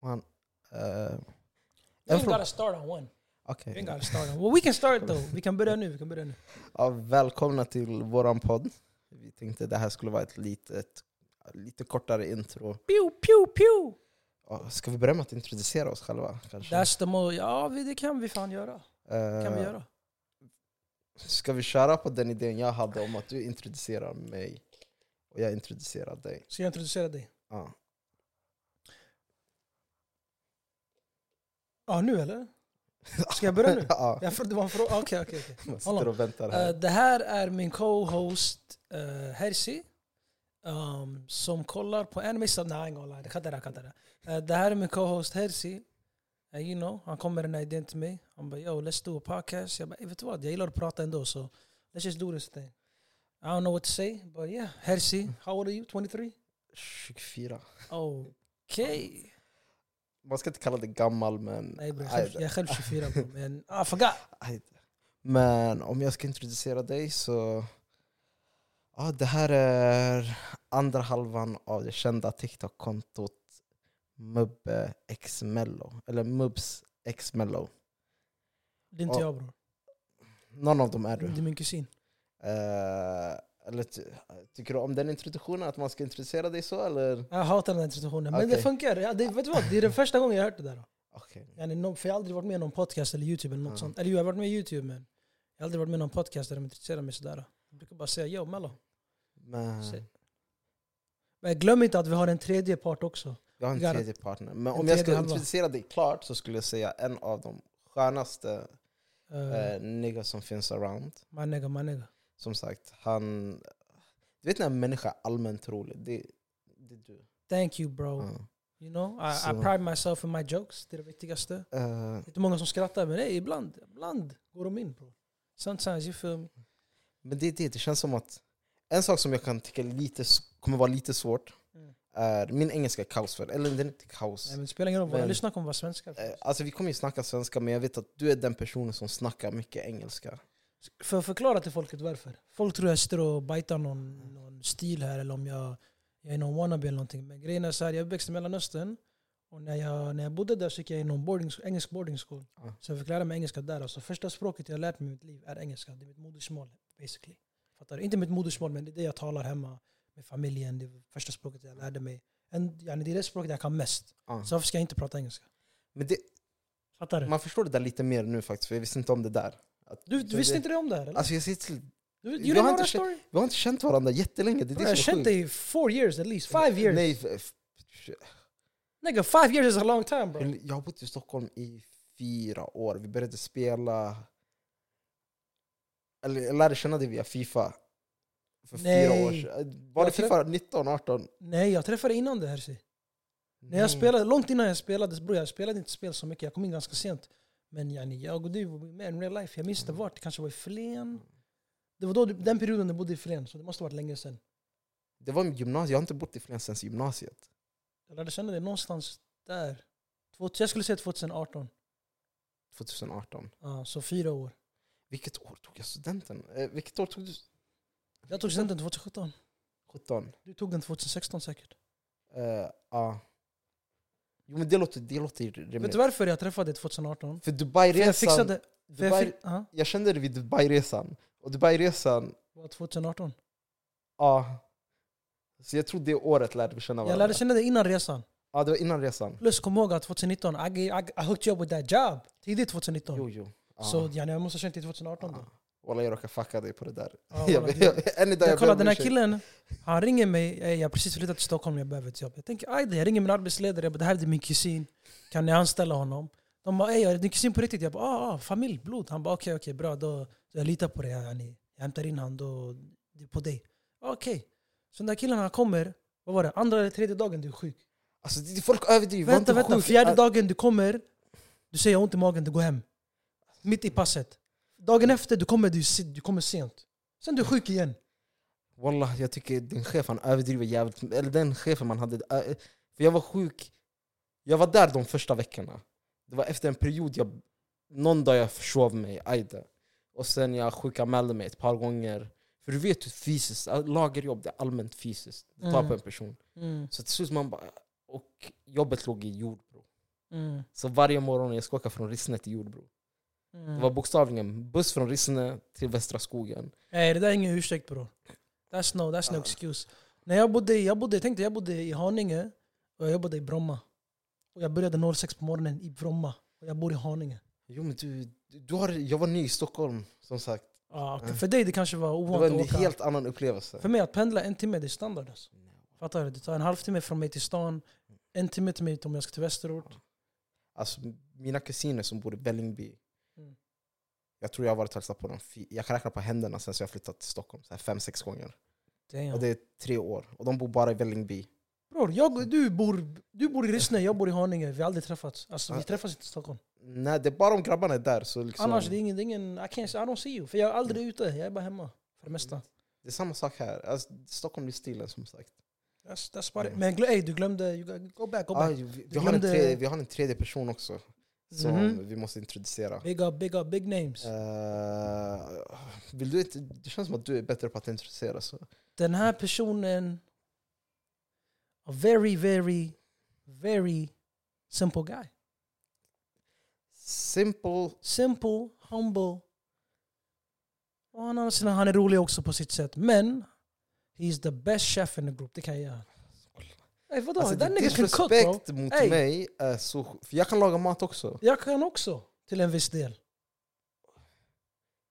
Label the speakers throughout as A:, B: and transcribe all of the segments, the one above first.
A: One. Uh,
B: You ain't
A: från-
B: gotta start on one.
A: Okej.
B: You ain't gotta start on one. Well, we can start though. Vi kan börja nu. Vi kan börja nu.
A: Ja, välkomna till våran podd. Vi tänkte det här skulle vara ett litet, lite kortare intro.
B: Pew, pew, pew!
A: Ja, Ska vi börja med att introducera oss själva? Kanske?
B: That's the mo- Ja, vi- det kan vi fan göra.
A: Eh,
B: Kan vi göra.
A: Ska vi köra på den idén jag hade om att du introducerar mig och jag introducerar dig?
B: Ska jag introducera dig?
A: Ja,
B: Ja, nu eller? Ska jag börja nu?
A: ja.
B: Jag för, det var en fråga. Okej, okej. okej.
A: Man sitter och väntar
B: Eh,
A: här.
B: det här är min co-host uh, Hersi. Um, som kollar på anime. Så, nej, jag kan inte lie. Det kan inte- det kan inte. Eh, Det här är min co-host Hersi. Eh, you know, han kom med den här idén till mig. Han bara yo, let's do a podcast. Jag bara, "Eh, vet du vad? Jag gillar att prata ändå så let's just do this thing. I don't know what to say, but yeah. Hersi, how old are you? 23?
A: 24.
B: Okay.
A: Man ska inte kalla det gammal, men...
B: Nej bror, jag är
A: Aj,
B: själv- jag är själv 24 bror. Men ah, I forgot.
A: Aj. Men om jag ska introducera dig så... Ja, det här är andra halvan av det kända TikTok-kontot Mubbe X Mello. Eller Mubs X Mello.
B: Det är inte
A: Ja,
B: jag bror.
A: Någon av dem är du.
B: Det är min kusin.
A: Eh, eller ty- tycker du om den introduktionen? Att man ska introducera dig så eller?
B: Jag hatar den här situationen. Men det
A: Okej.
B: funkar. Ja, det, vet du vad? Det är den första gången jag har hört det där.
A: Okej.
B: Yani, no, för jag har aldrig varit med i någon podcast eller YouTube eller något
A: Ja.
B: sånt. Eller jo, jag har varit med i YouTube men jag har aldrig varit med i någon podcast där de intresserar mig sådär. Jag brukar bara säga yo mello.
A: Men
B: Se- Men glöm inte att vi har en tredje part också.
A: jag har en
B: Vi har-
A: tredje partner. Men
B: en
A: om jag ska
B: tredje halva.
A: introducera dig klart så skulle jag säga en av de skönaste
B: Uh,
A: uh, niggas som finns around.
B: manega, manega.
A: Som sagt, han... Du vet när en människa är allmänt rolig? Det, det är du.
B: Thank you bro.
A: Ja.
B: You know, I, I
A: Så-
B: pride myself in my jokes. Det är det viktigaste. Det
A: Eh,
B: är inte många som skrattar men hey, ibland, ibland går de in bro. Sometimes you feel me.
A: men det är det, det känns som att... En sak som jag kan tycka lite, s- kommer vara lite svårt
B: Mm.
A: är... Min engelska är kaos för Eller den är inte kaos.
B: Nej, men det spelar ingen roll. Våra
A: Men-
B: lyssnare kommer vara svenskar.
A: Eh, Alltså vi kommer ju snacka svenska, men jag vet att du är den personen som snackar mycket engelska.
B: För förklara till folket varför. Folk tror jag sitter och bajtar
A: Mm.
B: någon, någon stil här eller om jag, jag är någon wannabe eller någonting. Men grejen är så här, jag är uppväxt i Mellanöstern och när jag, när jag bodde där så gick jag i någon boarding, engelsk boarding school.
A: Ja.
B: Så jag fick lära mig engelska där. Alltså, första språket jag lärt mig i mitt liv är engelska. Det är mitt modersmål basically. Fattar du? Inte mitt modersmål men det är det jag talar hemma med familjen. Det är första språket jag lärde mig. En, ja, det är det språket jag kan mest.
A: Ja.
B: Så varför ska jag inte prata engelska?
A: Men det,
B: Mm. Fattar du?
A: man förstår det där lite mer nu faktiskt, för jag visste inte om det där. Att,
B: Du, du visste inte det om det här eller?
A: Alltså jag ser till,
B: du,
A: jag
B: you
A: har
B: didn't know
A: inte
B: that
A: känt-
B: story?
A: vi har inte känt varandra jättelänge. Det är
B: Bro,
A: det
B: jag har
A: som är
B: känt
A: sjukt.
B: dig i four years at least, five years.
A: Nej, f- f-
B: Nigga, five years is a long time bro.
A: Jag har bott i Stockholm i fyra år. Vi började spela... Eller jag lärde känna dig via Fifa. För fyra
B: Nej.
A: år sedan. Eh, Var det
B: Jag tror-
A: Fifa 19, 18?
B: Nej, jag träffade innan det här. Si. När
A: Mm.
B: jag spelade, långt innan jag spelade, bro, jag spelade inte spel så mycket, jag kom in ganska sent. Men yani, jag och du var med in real life, jag minns
A: Mm.
B: inte vart, det kanske var i Flen. Det var då, du- den perioden du bodde i Flen, så det måste ha varit länge sedan.
A: Det var i gymnasiet. Jag har inte bott i Flen sen gymnasiet.
B: Jag lärde känna dig någonstans där. Två- Jag skulle säga 2018,
A: 2018.
B: Ja, så fyra år.
A: Vilket år tog jag studenten? Eh, vilket år tog du?
B: Jag tog studenten 2017,
A: 17?
B: du tog den 2016 säkert.
A: Eh, ja. Jo men det låter, det låter
B: Vet
A: rimligt.
B: du varför jag träffade dig 2018?
A: För
B: För jag
A: Dubai-resan...
B: fixade... För jag,
A: Dubai,
B: fi- Ja,
A: jag kände det vid Dubai-resan. Och Dubai-resan
B: det var 2018.
A: Ja. Så jag tror det året lärde vi känna
B: Jag
A: varandra.
B: lärde känna dig innan resan.
A: Ja, det var innan resan.
B: Plus kom ihåg att 2019, I, gave- I, I hooked you up with that job. Tidigt 2019.
A: Jo, jo. Ja.
B: Så ja, jag måste ha känt dig 2018 då.
A: Ja. Walla, jag råkade fucka dig på det där.
B: Ja,
A: jag,
B: wallah,
A: jag,
B: jag,
A: än idag
B: jag kollar den här
A: ber om ursäkt.
B: killen, han ringer mig, "Ey, jag har precis flyttat till Stockholm, jag behöver ett jobb. Jag tänker aj då, jag ringer min arbetsledare, jag bara, det här är min kusin, kan ni anställa honom? De bara ey, är det din kusin på riktigt? Jag bara ah, ah familj, blod. Han bara okej okej bra, då, jag litar på dig. Yani. Jag hämtar in honom, då, det är på dig. Okej. Så den där killen han kommer, vad var det, andra eller tredje dagen du är sjuk.
A: Alltså, det- folk överdriver. Var
B: Vänta,
A: inte
B: vänta.
A: sjuk.
B: Fjärde
A: Äh,
B: dagen du kommer, du säger jag har ont i magen, du går hem. Mitt i passet. Dagen efter du kommer, du, si- du kommer sent. Sen du är sjuk igen.
A: Walla, jag tycker den chefen överdriver jävligt. Eller den chefen man hade. äh, För jag var sjuk. Jag var där de första veckorna. Det var efter en period jag... Någon dag jag försov mig, ajde. Och sen jag sjukanmälde mig ett par gånger. För du vet hur fysiskt, äh, lagerjobb det är allmänt fysiskt. Det tar
B: Mm.
A: på en person. Så till slut man bara... Och jobbet låg i jord bro.
B: Mm.
A: Så varje morgon jag ska åka från Rissne till Jordbro. Det var
B: Mm.
A: bokstavligen buss från Rissne till Västra skogen.
B: Nej, det där är ingen ursäkt bror. That's no, that's no
A: Ja.
B: excuse. När jag bodde, i- jag bodde, tänkte jag bodde i Haninge och jag jobbade i Bromma. Och jag började 06 på morgonen i Bromma och jag bor i Haninge.
A: Jo men du, du har, jag var ny i Stockholm som sagt.
B: Ja,
A: Mm.
B: För dig det kanske var
A: Det var
B: ovanligt
A: en
B: att åka.
A: helt annan upplevelse.
B: För mig att pendla en timme det är standard. Alltså. Fattar du? Det tar en halvtimme från mig till stan, en timme till mig om jag ska till västerort.
A: Alltså, mina kusiner som bor i Vällingby.
B: Mm.
A: Jag tror jag har varit och hälsat på dem. fy- Jag kan räkna på händerna sen jag flyttat till Stockholm. Så här fem, sex gånger.
B: Damn.
A: Och det är tre år. Och de bor bara i Vällingby.
B: Bror, jag, du, bor, du bor i Rissne, jag bor i Haninge. Vi har aldrig träffats. Alltså, vi
A: Ja.
B: träffas inte i Stockholm.
A: Nej, det är bara om grabbarna är där. Så liksom,
B: Annars, det är ingen, det är ingen, I, can't, I don't see you. För jag är aldrig ute, jag är bara hemma. För det mesta.
A: det är samma sak här. Alltså, Stockholm blir stilen som sagt.
B: That's, that's about it.
A: Mm.
B: Men glö, ey, du glömde, you got- go back, go
A: Ah,
B: back.
A: vi, vi, har en
B: glömde-
A: tredje, vi har en tredje person också som
B: Mhm.
A: vi måste introducera.
B: Big up, big up, big names.
A: Eh, vill du inte, det känns som att du är bättre på att introducera. Så.
B: Den här personen, a very, very, very simple guy.
A: Simple.
B: Simple, humble. Och han, har sina- han är rolig också på sitt sätt. Men, he's the best chef in the group, det kan jag göra. Ey, vadå? liksom
A: Alltså,
B: That
A: din
B: nigga can cook bro.
A: disrespect mot
B: Ey.
A: mig är så sj- För jag kan laga mat också.
B: Jag kan också, till en viss del.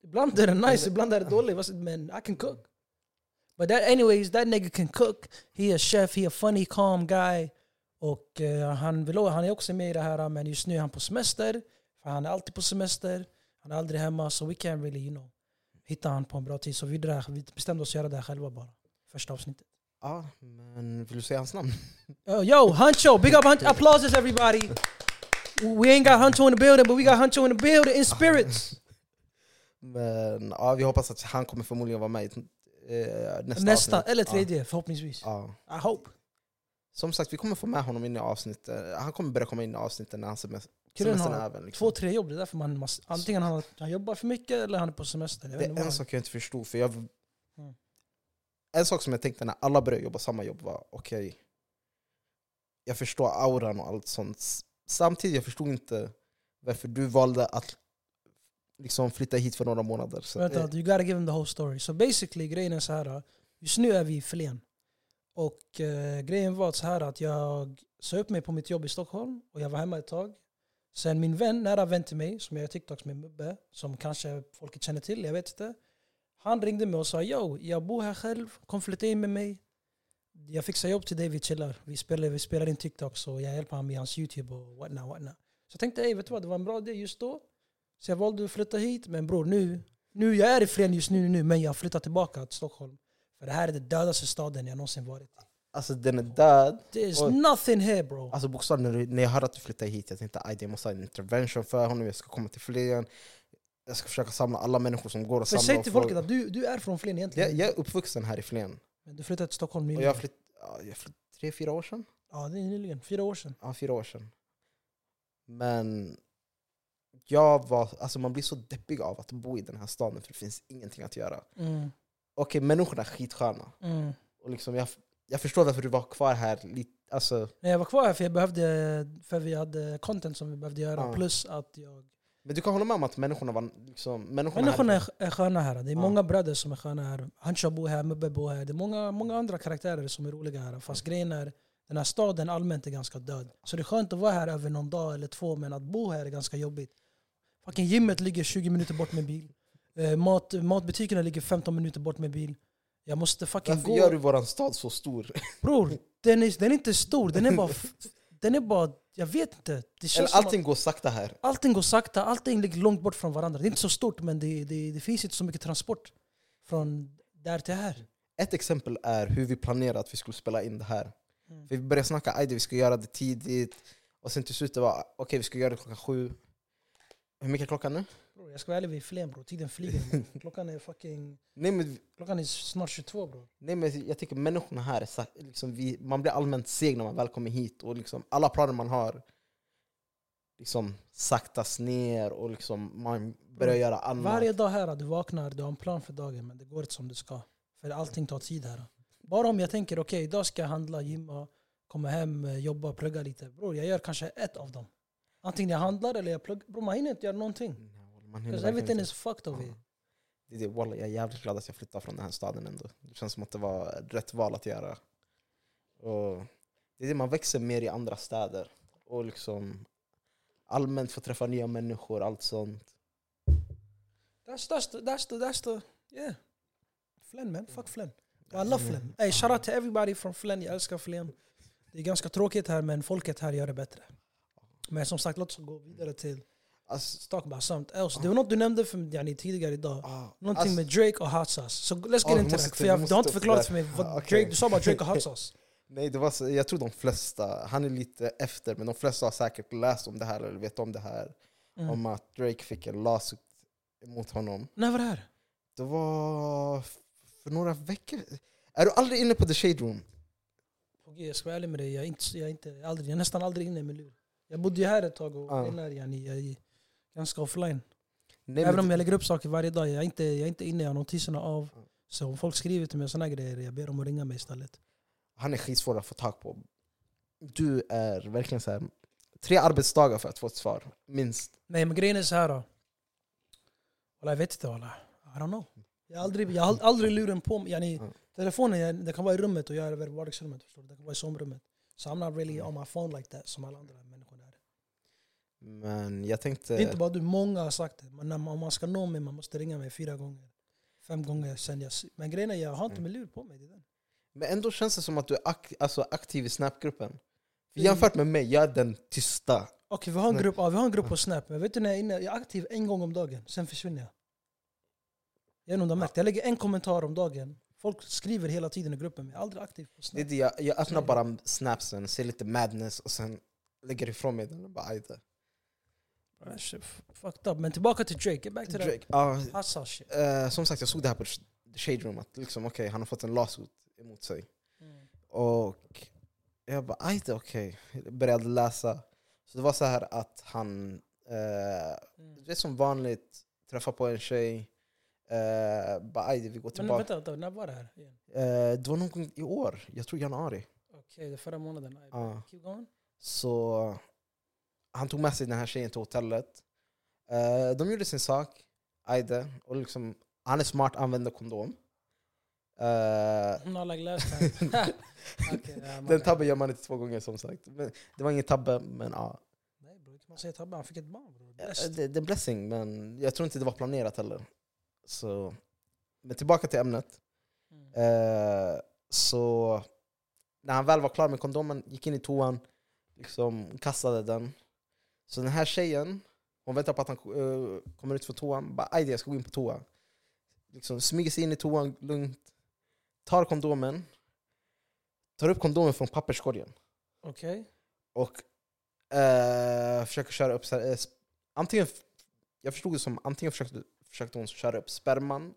B: Ibland är det nice, ibland är det dåligt. Vad- Men I can cook. But that anyways, that nigga can cook. He a chef, he a funny, calm guy. Och eh, han, vill, han är också med i det här, men just nu är han på semester. För han är alltid på semester. Han är aldrig hemma, så we can't really, you know, hitta han på en bra tid. Så vi, gjorde det här, vi bestämde oss att göra det här själva bara. Första avsnittet.
A: Ja, men vill du säga hans namn?
B: Uh, yo, Huncho, big up, Huncho. Applauses, everybody. We ain't got Huncho in the building, but we got Huncho in the building in spirits.
A: Men ja, vi hoppas att han kommer förmodligen vara med i eh, nästa
B: Nästa,
A: avsnitt.
B: eller tredje förhoppningsvis.
A: Ja, ja.
B: I hope.
A: Som sagt, vi kommer få med honom in i avsnittet. Han kommer börja komma in i avsnitten när han semester,
B: Killen
A: semestern
B: har
A: är över. Liksom.
B: Två, tre jobb, det är därför man måste, antingen han, han jobbar för mycket eller han är på semester. Jag
A: Det
B: vet
A: är
B: inte Mm.
A: en
B: vad.
A: sak jag inte förstod. För jag, En sak som jag tänkte när alla började jobba samma jobb var okej, jag förstår auran och allt sånt. S- Samtidigt jag förstod inte varför du valde att liksom flytta hit för några månader sedan.
B: Vänta, you gotta give him the whole story. Så basically grejen är så här. just nu är vi i Flen. Och eh, grejen var så här att jag sa upp mig på mitt jobb i Stockholm och jag var hemma ett tag. Sen min vän, nära vän till mig, som jag gör TikToks med Mubbe, som kanske folk känner till, jag vet inte. Han ringde mig och sa yo, jag bor här själv, kom flytta in med mig. Jag fixar jobb till dig, vi chillar. Vi spelar, vi spelar in TikToks och jag hjälper honom med hans YouTube och whatnot, whatnot. Så jag tänkte, ey vet du vad, det var en bra idé just då. Så jag valde att flytta hit, men bror nu, nu jag är i Flen just nu, nu, men jag flyttar tillbaka till Stockholm. För det här är den dödaste staden jag någonsin varit i.
A: Alltså den är död.
B: There's
A: Oj.
B: nothing here bro.
A: Alltså bokstavligen när, du- när jag hörde att du flyttade hit, jag tänkte att jag måste ha en intervention för honom, jag ska komma till Flen, jag ska försöka samla alla människor som går och
B: För
A: samla.
B: säg
A: och
B: till
A: fråga.
B: folket att du, du är från Flen
A: jag,
B: egentligen.
A: jag är uppvuxen här i Flen.
B: Men du flyttade till Stockholm
A: Och
B: nyligen.
A: jag flytt, ja, jag flytt, tre, fyra år sedan?
B: ja, det är nyligen. Fyra år sedan.
A: ja, fyra år sedan. Men jag var, alltså man blir så deppig av att bo i den här staden för det finns ingenting att göra.
B: Mm,
A: Okej, människorna är skitsköna.
B: mm.
A: Och liksom jag, jag förstår varför du var kvar här. Lite, alltså,
B: Nej, jag var kvar här för jag behövde, för vi hade content som vi behövde göra.
A: Ja.
B: Plus att jag...
A: men du kan hålla med om att människorna var... Liksom, människorna
B: Människorna
A: hade-
B: är, är sköna här. Det är
A: Ja.
B: många bröder som är sköna här. Hancha bor här, Mubbe bor här. Det är många, många andra karaktärer som är roliga här. Fast grejen är, den här staden allmänt är ganska död. Så det är skönt att vara här över någon dag eller två, men att bo här är ganska jobbigt. Fucking gymmet ligger 20 minuter bort med bil. Eh, mat, matbutikerna ligger 15 minuter bort med bil. Jag måste fucking
A: varför
B: gå.
A: gör du våran stad så stor?
B: Bror, den är, den är inte stor. Den är bara... f- Den är bara... Jag vet inte. Det känns
A: Eller
B: som att-
A: allting går sakta här.
B: Allting går sakta, allting ligger långt bort från varandra. Det är inte så stort men det, det, det finns inte så mycket transport från där till här.
A: Ett exempel är hur vi planerade att vi skulle spela in det här.
B: Mm.
A: För vi började snacka att vi ska göra det tidigt, och sen till slut det var okej, vi ska göra det klockan sju. Hur mycket är klockan nu?
B: Bror, jag ska vara ärlig, vi är flen bror. Tiden flyger. man. Klockan är fucking...
A: Nej, men
B: Klockan är snart 22 bror.
A: Nej, men jag tycker människorna här, är sa- liksom vi, man blir allmänt seg när man väl kommer hit. Och liksom alla planer man har liksom saktas ner och liksom man börjar göra annat.
B: Mm. Varje dag här, du vaknar, du har en plan för dagen men det går inte som det ska. För allting tar tid här. Bara om jag tänker, okej idag ska jag handla, gymma, komma hem, eh, jobba, plugga lite. Bror, jag gör kanske ett av dem. Antingen jag handlar eller jag pluggar. Bror man hinner inte göra någonting.
A: Man hinner
B: Because
A: verkligen
B: everything
A: inte.
B: is fucked of it.
A: Ja. Det är det, wallah, jag är jävligt glad att jag flyttade från den här staden ändå. Det känns som att det var rätt val att göra. Och det är det, man växer mer i andra städer. Och liksom allmänt får träffa nya människor, allt sånt.
B: That's, that's, the, that's, the, that's the, yeah. Flen man, fuck Flen. I
A: Ja,
B: love
A: men-
B: Flen. Ey, shout out to everybody from Flen, jag älskar Flen. Det är ganska tråkigt här men folket här gör det bättre. Men som sagt, låt oss gå vidare till
A: Alltså,
B: Let's talk about something else. Det var något du nämnde för, yani, tidigare idag.
A: ah,
B: Någonting
A: alltså,
B: med Drake och hot sauce. Så let's
A: Ja,
B: get
A: vi
B: into
A: måste-
B: that. För
A: vi
B: jag, det
A: måste
B: har
A: ta
B: inte
A: upp
B: förklarat
A: det.
B: för mig. Vad
A: Okej.
B: Drake, du sa bara Drake och hot sauce.
A: Nej, det var, så- jag tror de flesta, han är lite efter, men de flesta har säkert läst om det här eller vet om det här.
B: Mm.
A: Om att Drake fick en lawsuit mot honom.
B: När var det här?
A: Det var f- för några veckor... Är du aldrig inne på The Shade Room?
B: Åh, gud, Jag ska vara ärlig med dig, jag är, inte, jag, är inte, aldrig, jag är nästan aldrig inne med lur. Jag bodde ju här ett tag och
A: Ja.
B: innan, yani, jag är ganska offline.
A: Nej,
B: Även om
A: men,
B: jag lägger upp saker varje dag, jag är inte, jag är inte inne, jag har notiserna av.
A: Ja.
B: Så om folk skriver till mig och såna grejer, jag ber dem att ringa mig istället.
A: han är skitsvår att få tag på. Du är verkligen så här, tre arbetsdagar för att få ett svar, minst.
B: Nej men grejen är så här då. Walla, jag vet inte walla. I don't know. Jag har aldrig, jag har ald- aldrig luren på mig. Yani,
A: Ja.
B: Telefonen jag, den kan vara i rummet och jag är över vardagsrummet. Förstår du? Den kan vara i sovrummet. So I'm not
A: Mm.
B: really on my phone like that som alla andra människor är.
A: Men jag tänkte...
B: Det är inte bara du, många har sagt det. Men när man, om man ska nå mig man måste ringa mig fyra gånger. Fem gånger sen jag... se- Men grejen är jag har inte
A: Mm.
B: min lur på mig. Det är den.
A: Men ändå känns det som att du är ak- alltså, aktiv i
B: Mm.
A: Snap-gruppen. För Jämfört med mig, jag är den tysta.
B: Okej, vi har en
A: Nej.
B: grupp, ja, vi har en grupp på Snap, men vet du när jag är inne? Jag är aktiv en gång om dagen, sen försvinner jag. Jag vet inte om du har märkt, jag lägger en kommentar om dagen. Folk skriver hela tiden i gruppen, men jag är aldrig aktiv
A: Det är
B: på Snap.
A: det, jag, jag öppnar bara snapsen, ser lite madness och sen lägger ifrån mig den. Och bara, aj då.
B: Ah, shit, f- Fucked up. Men tillbaka till Drake, back to that
A: Drake, ja,
B: Hassa shit.
A: eh, som sagt, jag såg det här på The Shade Room, att liksom, okej, han har fått en lawsuit emot sig.
B: Mm.
A: Och jag bara, aj då, okej. Började läsa. Så det var så här att han, eh,
B: Mm.
A: det är som vanligt, träffar på en tjej, eh, bara aj då, vi går
B: Men
A: tillbaka.
B: vänta, vänta, när var det här? igen?
A: Eh, det var någon gång i år, jag tror januari.
B: Okej, det är förra månaden. Nej,
A: Ja.
B: Keep going.
A: Så han tog med sig den här tjejen till hotellet. Eh, de gjorde sin sak, ajde. Och liksom, han är smart, använder kondom. Eh,
B: Not like last time. Okej, ja, man-
A: den tabben gör man inte två gånger som sagt. Men, det var ingen tabbe, men ja.
B: Nej bror, inte man säger tabbe. Han fick ett barn bror.
A: Ja,
B: Blessed.
A: Eh, Det, det är en blessing, men jag tror inte det var planerat heller. Så, men tillbaka till ämnet.
B: Mm.
A: Eh, så när han väl var klar med kondomen, gick in i toan, liksom kastade den. Så den här tjejen, hon väntar på att han eh, kommer ut från toan, bara aj jag ska gå in på toa. Liksom smyger sig in i toan lugnt, tar kondomen, tar upp kondomen från papperskorgen
B: Okej.
A: och eh, försöker köra upp... så här, eh, sp- antingen, jag förstod det som antingen försökte, försökte hon köra upp sperman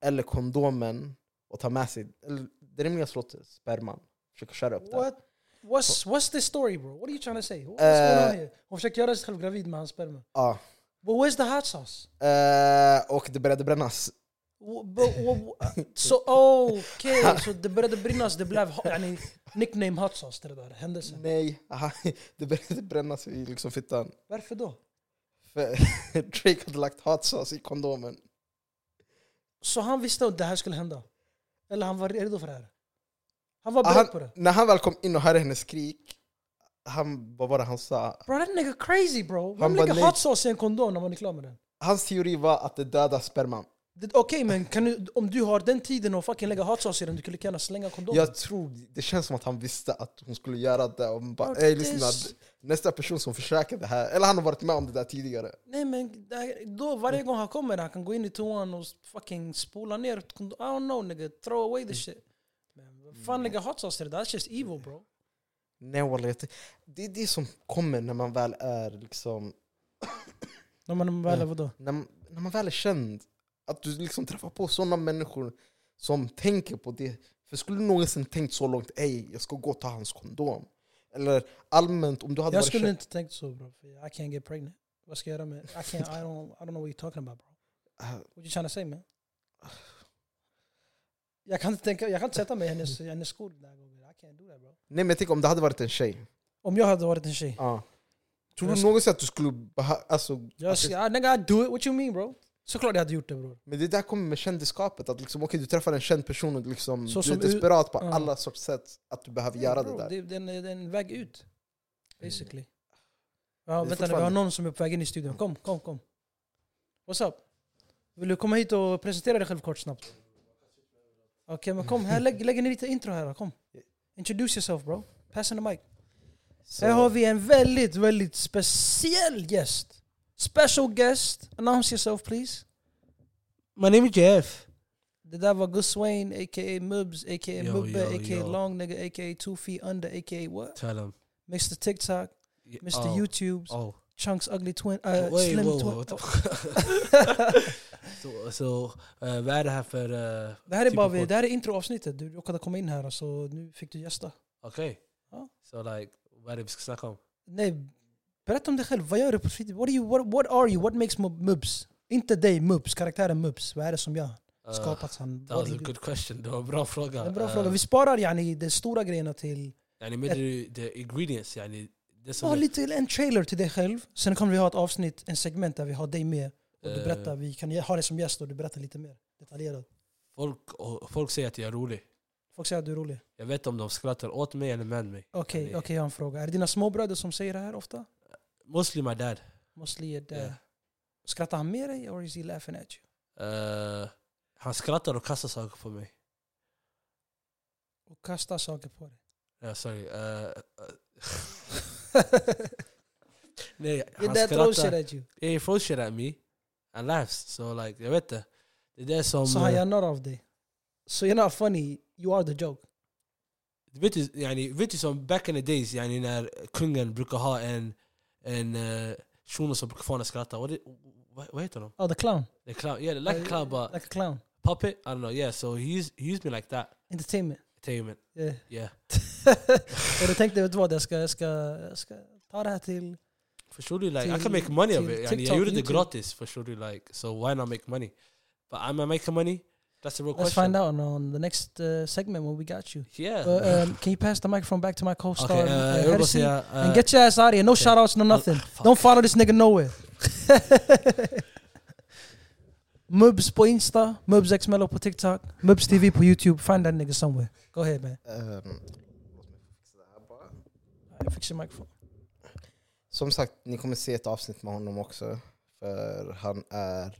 A: eller kondomen och ta med sig... Eller, det rimligaste låter sperman. Försöker köra upp det.
B: What? What's, what's the story bro? What are you trying to say? What's going on
A: Eh.
B: here? Hon försöker göra sig själv gravid med hans sperma.
A: Ja.
B: But where's the hot sauce?
A: Eh, och det började brännas.
B: W- but w- uh, w- Så okej, så det började brinnas. Det blev ho- yani, nickname hot sauce till det där händelsen.
A: Nej, aha, det började brännas i liksom fittan.
B: Varför då?
A: För Drake hade lagt hot sauce i kondomen.
B: Så han visste att det här skulle hända? Eller han var redo för det här? Han var
A: Ah,
B: beredd
A: han,
B: på det?
A: när han väl kom in och hörde hennes skrik, han, vad var det han sa?
B: Bro that nigga crazy bro.
A: Han
B: Vem
A: bara,
B: lägger
A: nej.
B: hot sauce i en kondom när man är klar med den?
A: Hans teori var att det dödar sperman.
B: Det- Okej men kan du, om du har den tiden och fucking lägga hot sauce i den, du kunde lika gärna slänga kondomen.
A: Jag tror, det känns som att han visste att hon skulle göra det. Och hon bara,
B: Bro,
A: "Ey,
B: det är s-
A: lyssna, nästa person som försöker det här, eller han har varit med om det där tidigare.
B: Nej men det- då varje gång han kommer han kan gå in i toan och fucking spola ner kondom- I don't know nigga, throw away the shit. Men vad
A: Mm.
B: fan lägga hot sauce i det där? That's just evil bro.
A: Nej wallah, jag ty- det är det som kommer när man väl är liksom,
B: När man väl är vadå?
A: när, när man väl är känd. Att du liksom träffar på sådana människor som tänker på det. För skulle du någonsin tänkt så långt, ej jag ska gå och ta hans kondom. Eller allmänt om du hade
B: Jag
A: varit
B: skulle
A: känd.
B: inte tänkt så bro, för I can't get pregnant. Vad ska jag göra med I can't, I don't, I don't know what you're talking about bro.
A: Ah,
B: What you trying to say man? Jag kan inte, tänka, jag kan inte sätta mig i hennes, i hennes skor den här gången. I can't do that bro.
A: Nej men jag tänker om det hade varit en tjej.
B: Om jag hade varit en tjej,
A: Ja. Tror du någonsin att du skulle beha- alltså,
B: Jag,
A: att det-
B: jag, nigga, I do it. What you mean bro? Såklart jag hade gjort det bror.
A: Men det där kommer med kändisskapet, att liksom, okej du träffar en känd person och liksom,
B: Så
A: du är
B: som u-
A: desperat på
B: Ja.
A: alla sorts sätt att du behöver göra
B: Bro,
A: det där. Mm.
B: Det, det, är en- det är en väg ut. Basically. Ja,
A: är
B: vänta nu, vi har
A: fortfarande-
B: någon som är på väg in i studion. Kom, kom, kom. What's up? Vill du komma hit och presentera dig själv kort snabbt? Okej, men kom. Här, lägg, lägg in lite intro här. då, Kom. Introduce yourself bro. Pass on the mic.
A: Så-
B: Här har vi en väldigt, väldigt speciell gäst. Special guest. Announce yourself please.
C: My name is Jeff.
B: Det där var Gus Wayne, a.k.a. Mubs, a.k.a.
C: Yo,
B: Mubbe,
C: yo,
B: a.k.a.
C: yo.
B: Long Nigga, a.k.a. Two Feet Under, a.k.a. what?
C: Tell him.
B: Mr. TikTok.
C: Yeah,
B: Mr.
C: oh,
B: YouTube's
C: Oh,
B: Chunks Ugly Twin, uh,
C: wait,
B: Slim oh.
C: whoa,
B: Twin.
C: whoa, what the så så eh, vad är det här för... eh,
B: det här är
C: typ
B: bara
C: av
B: vi,
C: podd?
B: det här är introavsnittet, du råkade komma in här så nu fick du gästa.
C: Okej.
B: Ja.
C: Så like, vad är det vi ska snacka om?
B: Nej, berätta om dig själv, vad gör du på fritiden? What, are you- what, what are you? What makes Mub- Mubs? Inte dig Mubs, karaktären Mubs. Vad är det som jag
C: Eh,
B: skapat? Han,
C: that
B: what
C: was
B: do
C: a
B: you do?
C: good question. Det var en bra fråga.
B: en bra
C: Eh,
B: fråga. Vi sparar yani de stora grejerna till...
C: Yani med the, the ingredients, yani det som...
B: Ja,
C: jag-
B: lite en trailer till dig själv. Sen kommer vi ha ett avsnitt, en segment där vi har dig med. Och du
C: Eh.
B: berättar, vi kan ha dig som gäst och du berättar lite mer detaljerat.
C: folk, och folk säger att jag är rolig.
B: Folk säger att du är rolig.
C: Jag vet om de skrattar åt mig eller med mig.
B: Okej,
C: Yani,
B: okej jag har en fråga. Är det dina småbröder som säger det här ofta?
C: Mostly my dad.
B: Mostly är det...
C: Yeah.
B: Skrattar han med dig or is he laughing at you?
C: Eh, han skrattar och kastar saker på mig.
B: Och kastar saker på dig.
C: Ja, sorry. Eh, eh, nej, han
B: Your dad throws
C: skrattar.
B: shit at you.
C: Yeah, he throws shit at me and laughs. So like, jag vet det. Det där som...
B: Så
C: eh,
B: han gör narr av dig. So you're not funny, you are the joke.
C: vet, du, uh, yani, vet du som back in the days, yani, när kungen brukar ha en, en uh, shuno som brukar få en att skratta. Vad, det, vad, vad heter de?
B: Oh, the clown.
C: The clown. Yeah, like a clown but
B: Uh, Like a clown.
C: puppet? I don't know. Yeah, so he used, he used me like that.
B: Entertainment.
C: Entertainment.
B: Yeah.
C: Yeah.
B: Och du tänkte, vet du vad, jag ska, jag, ska, jag ska ta det här till...
C: Förstår du? Like, I
B: Till-
C: can make money of
B: till
C: it. Yani,
B: TikTok,
C: jag gjorde det
B: YouTube.
C: gratis. Förstår du? Like, so why not make money? But am I making money? That's the real
B: Let's
C: question.
B: find out on the next uh, segment when we got you.
C: Yeah.
B: Uh, um, can you pass the microphone back to my co-star?
C: okay,
B: uh,
C: eh, jag vill bara
B: Hersey?
C: säga... eh,
B: and get your ass out of here. No
C: okay.
B: shout outs, no nothing.
C: fuck.
B: Don't follow this nigga nowhere. Mubs på Insta, Mubs X Mello på TikTok, Mubs TV på YouTube. Find that nigga somewhere. Go ahead man.
A: Ehm,
B: Jag fixar mikrofon.
A: Som sagt, ni kommer se ett avsnitt med honom också. För han är...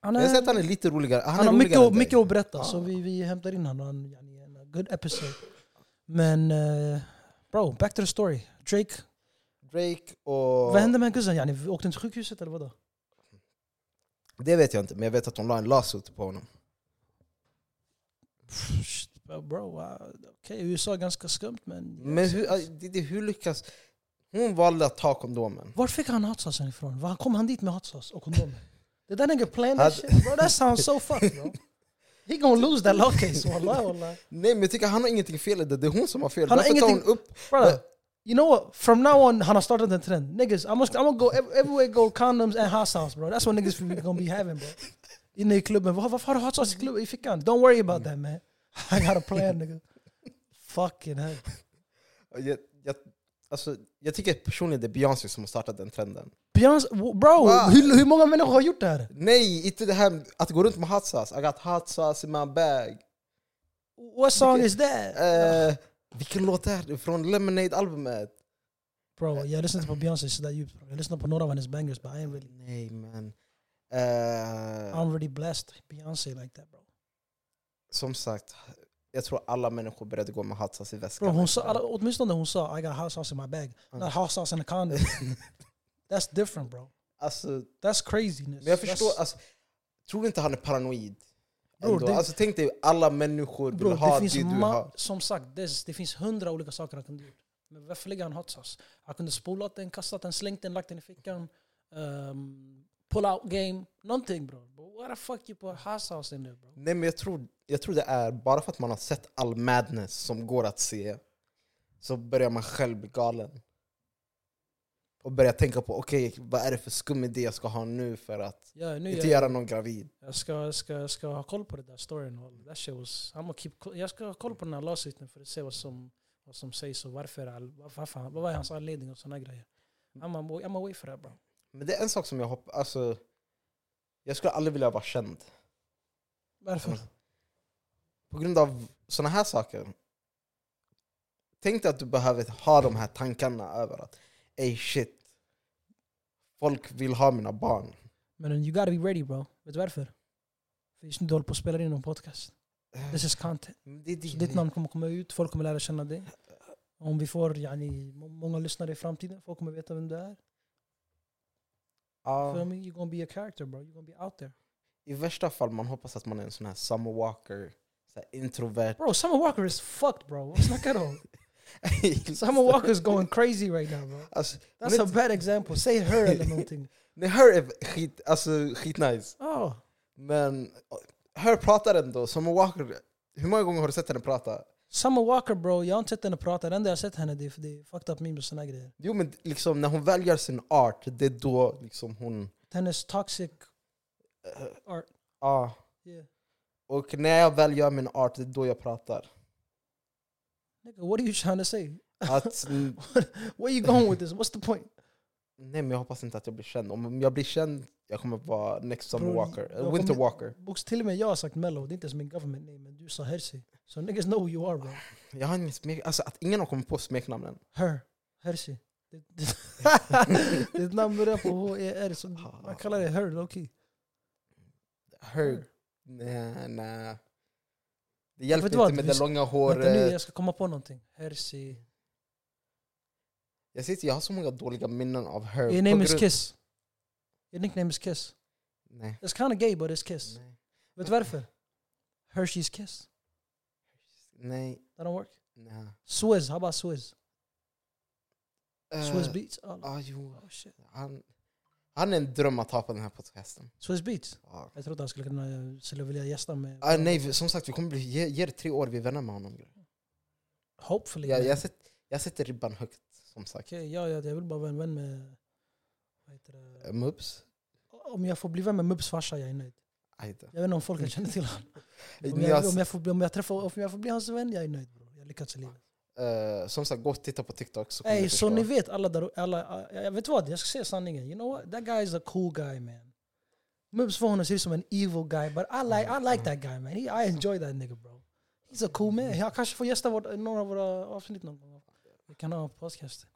B: Han,
A: Jag
B: är,
A: har sett att han är lite roligare. Han,
B: han
A: är
B: har mycket,
A: roligare än
B: att-
A: dig.
B: mycket att berätta
A: Ja.
B: så vi, vi hämtar in honom. Han yani, en good episode. Men eh, bro, back to the story. Drake,
A: Drake och...
B: vad hände med kusen? Yani, vi åkte han till sjukhuset eller vadå?
A: Det vet jag inte, men jag vet att de la en lawsuit på honom.
B: Pff, Bro, uh, okej USA är ganska skumt men...
A: Men hur, ah, det, det, hur lyckas... Hon valde att ta kondomen.
B: Var fick han hotsaucen ifrån? Var kom han dit med hotsauce och kondomer? Det där nigga playing that
A: Hade-
B: shit bro, that sounds so fucked bro. He gonna lose that law case, wallah wallah.
A: Nej men jag tycker han har ingenting fel i det, det är hon som har fel.
B: Han har
A: Varför tar hon
B: ingenting-
A: upp
B: Brother, you know what? From now on, han har startat en trend. Niggas, I'm gonna, I'm gonna go ev- everywhere go condoms and hot sauce bro. That's what niggas be- gonna be having bro. Inne i klubben, "Var- varför har du hot sauce i klubben? I fickan? Don't worry about that man. I got a plan nigga. Fucking hell.
A: Jag, jag, alltså, jag tycker personligen det är Beyoncé som har startat den trenden.
B: Beyoncé, w- bro,
A: Wow.
B: hur, hur många människor har gjort det här?
A: Nej, inte det här att gå runt med hot sauce. I got hot sauce in my bag.
B: What song is that?
A: Eh, vilken låt är det? Från Lemonade-albumet?
B: Bro, jag lyssnar inte på Beyoncé sådär djupt. bro. Jag lyssnar på några av hennes bangers, but I ain't really,
A: Nej man.
B: I
A: Eh,
B: don't really blessed Beyoncé like that bro.
A: som sagt, jag tror alla människor började gå med hot sauce i väskan.
B: Bro, hon sa, alla- åtminstone hon sa I got hot sauce in my bag, not hot sauce in a condom. That's different bro.
A: alltså, men
B: That's craziness.
A: jag förstår,
B: That's,
A: alltså, tror du inte han är paranoid?
B: Bror,
A: Ändå?
B: det-
A: alltså, tänk dig, alla människor vill
B: bro,
A: ha
B: det
A: det,
B: finns
A: du
B: ma-
A: har.
B: som sagt, det, det finns hundra olika saker han kunde gjort. Men varför lägger han hot sauce? Han kunde spolat den, kastat den, slängt den, lagt den i fickan. Um, pull out game, någonting bro. But what the fuck you put hot sauce in there bro?
A: Nej men jag tror, jag tror det är bara för att man har sett all madness som går att se så börjar man själv bli galen. Och börjar tänka på okej, vad är det för skum idé jag ska ha nu för att
B: Ja, nu är
A: inte
B: jag-
A: göra någon gravid?
B: Jag ska, jag ska, jag ska ha koll på det där storyn. och That shit was, I'm gonna keep, co- jag ska ha koll på den här lawsuiten för att se vad som, vad som sägs och varför, all, varför, varför han- vad var hans anledning och såna grejer. I'm, I'm, I'm away for that bro.
A: Men det är en sak som jag hoppas, alltså. Jag skulle aldrig vilja vara känd.
B: Varför?
A: På grund av sådana här saker. Tänk dig att du behöver ha de här tankarna över att ey shit, folk vill ha mina barn.
B: Men you gotta be ready bro. Vet du varför? För just nu du håller på att spela in en podcast. This is content.
A: Men Det är
B: Så
A: din-
B: ditt namn kommer komma ut, folk kommer lära känna dig. Om vi får yani, må- många lyssnare i framtiden, folk kommer veta vem du är.
A: Ja.
B: Feel me? You're gonna be a character bro, you're gonna be out there.
A: I värsta fall man hoppas att man är en sån här summer walker, så här introvert.
B: Bro, Summer Walker is fucked bro. Vad snackar du om? Summer Walker is going crazy right now bro.
A: Alltså,
B: That's a bad example. Say her eller någonting.
A: nej, Her är skit, alltså, skitnice,
B: Oh.
A: men eh, Her pratar ändå, Summer Walker, hur många gånger har du sett henne prata?
B: Summer Walker bro, jag har inte sett henne prata. Det enda jag har sett henne det är, det är fucked up memes och såna grejer.
A: Jo men liksom när hon väljer sin art, det är då liksom hon...
B: Hennes toxic art.
A: Ja.
B: Yeah.
A: ah. Och när jag väl gör min art, det är då jag pratar.
B: Nigga, what are you trying to say?
A: Att, mm,
B: Where you going with this? What's the point?
A: nej men jag hoppas inte att jag blir känd. Om jag blir känd, jag kommer vara next Summer
B: Bror,
A: Walker,
B: jag
A: eh, Winter
B: kommer-
A: Walker.
B: Box, till och med jag har sagt mellow, det är inte ens min government name, men du sa Hersey. So niggas know who you are bro.
A: Jag har ingen smek... Alltså att ingen har kommit på smeknamnen.
B: Her, Hersey. Det- det- Ditt namn börjar på H-E-R, så
A: Ah.
B: man kallar det her low-key.
A: Her. Nej, nej. Det hjälper
B: Vet
A: inte
B: du vad?
A: med
B: Vi
A: det
B: ska-
A: långa
B: Vänta nu,
A: håret.
B: jag ska komma på någonting. Hersey.
A: Jag sitter, jag har så många dåliga minnen av her.
B: Your
A: på
B: name is
A: grund-
B: Kiss. Your nickname is Kiss.
A: Nej.
B: It's kind of gay but it's Kiss.
A: Nej.
B: Vet du varför? Hershey's Kiss.
A: Nej.
B: That don't work.
A: nej.
B: Swizz, how about Swizz?
A: Eh,
B: Swizz Beats? Oh, no.
A: Ja, jo.
B: oh shit.
A: Han, han är en dröm att ha på den här podcasten.
B: Swizz Beats?
A: Ja.
B: Jag trodde han skulle kunna, eh, skulle vilja gästa med...
A: Ah, nej, vi- som sagt, vi kommer bli, ge, ge det tre år, vi är vänner med honom.
B: Hopefully.
A: Jag,
B: man.
A: jag, sätter, jag sätter ribban högt, som sagt.
B: Okej, ja, ja, jag vill bara vara en vän med... Vad heter
A: Eh,
B: det?
A: Mups?
B: Om jag får bli vän med Mubs farsa, jag är nöjd.
A: Aj då.
B: Jag vet inte om folk känner till honom. Om
A: Ni
B: jag,
A: har-
B: om jag, får, bli- om jag, träffar, om jag får bli hans vän, jag är nöjd. Bro. Jag har lyckats i livet.
A: eh, som sagt, gå och titta på TikTok så kommer
B: Ey,
A: ni
B: så
A: förstå.
B: ni vet alla där alla, jag- jag vet vad, jag ska säga sanningen. You know what? That guy is a cool guy man. Mubs får honom att se ut som en evil guy, but I like, I like that guy man. He, I enjoy that nigga bro. He's a cool man. Jag kanske får gästa vårt, några av våra avsnitt någon gång. Vi kan ha en podcast.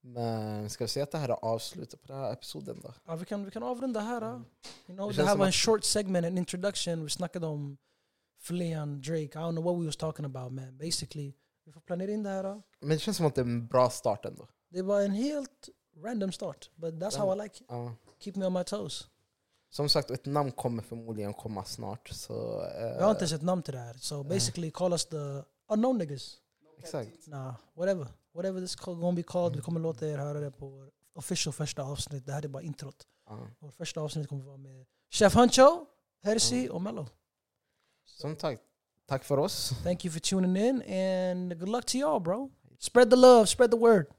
A: Men ska vi säga att det här är avslutet på den här episoden då?
B: Ja, vi, kan, vi kan avrunda här. Då. You know,
A: Det känns
B: det här
A: som
B: var
A: att-
B: en short segment, en introduction. Vi snackade om Flean, Drake. I don't know what we was talking about man. Basically, vi får planera in det här. Då.
A: Men det känns som att det är en bra start ändå.
B: Det var en helt random start. But that's how I like it.
A: Ja.
B: Keep me on my toes.
A: Som sagt, ett namn kommer förmodligen komma snart. Så, eh,
B: Jag har inte ens ett namn till det här. So basically call us the unknown niggas.
A: Exakt.
B: Nah, whatever. Whatever this call, gonna be called. Vi kommer låta er höra det på vår official första avsnitt. Det här är bara introt.
A: Ja.
B: Vårt första avsnitt kommer vara med uh, Chef Huncho, Hersey och Mello.
A: Som sagt, tack för oss.
B: Thank you for tuning in and good luck to y'all, bro. Spread the love, spread the word.